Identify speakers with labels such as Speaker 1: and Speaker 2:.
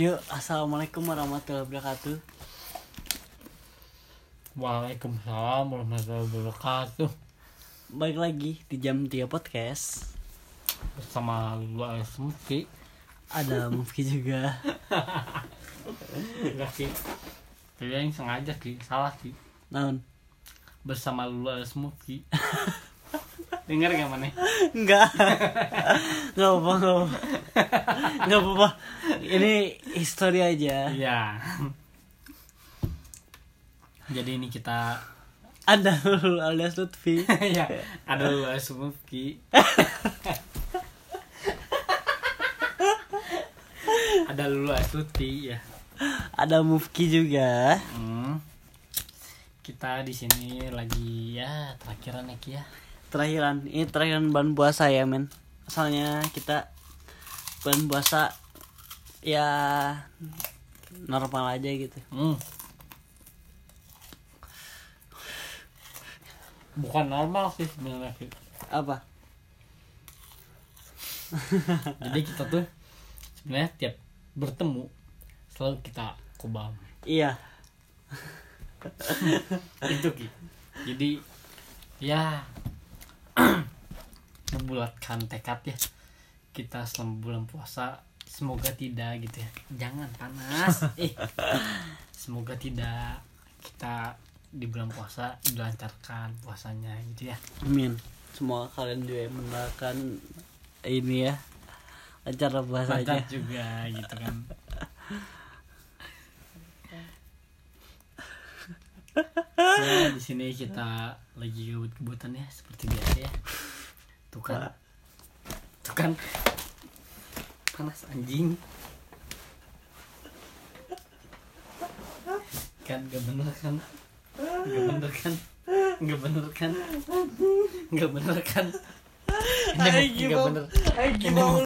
Speaker 1: Yuk, assalamualaikum warahmatullahi wabarakatuh.
Speaker 2: Waalaikumsalam warahmatullahi wabarakatuh
Speaker 1: Balik lagi di jam 3 podcast.
Speaker 2: Bersama gua Esmuki
Speaker 1: Ada Mufki juga.
Speaker 2: Enggak sih Tidak yang sengaja sih, salah sih
Speaker 1: Naon?
Speaker 2: Bersama Lula Esmuki Dengar gak mana?
Speaker 1: Enggak. Enggak apa-apa. Enggak apa-apa. Enggak apa-apa. Ini histori aja.
Speaker 2: Iya Jadi ini kita
Speaker 1: Ada Nurul alias Lutfi.
Speaker 2: ya, Ada Lula Esmuki Ada Lula Esmuki ya
Speaker 1: Ada Mufki juga.
Speaker 2: Hmm. Kita di sini lagi ya terakhiran ya Ki, ya.
Speaker 1: Terakhiran, ini terakhiran bulan puasa ya, men. Asalnya kita bulan puasa ya normal aja gitu.
Speaker 2: Hmm. Bukan normal sih sebenarnya. Ki.
Speaker 1: Apa?
Speaker 2: Jadi kita tuh sebenarnya tiap bertemu selalu kita kobam.
Speaker 1: Iya.
Speaker 2: Itu Ki. Jadi ya membulatkan tekad ya kita selama bulan puasa semoga tidak gitu ya jangan panas eh semoga tidak kita di bulan puasa dilancarkan puasanya gitu ya
Speaker 1: Amin. Semua kalian juga yang mendapatkan ini ya acara
Speaker 2: lancar
Speaker 1: bahasanya.
Speaker 2: juga gitu kan ya di sini kita lagi gabut kebutan ya seperti biasa ya tuh kan tuh kan panas anjing kan gak bener kan gak bener kan gak bener kan gak bener kan Ini gak bener Ini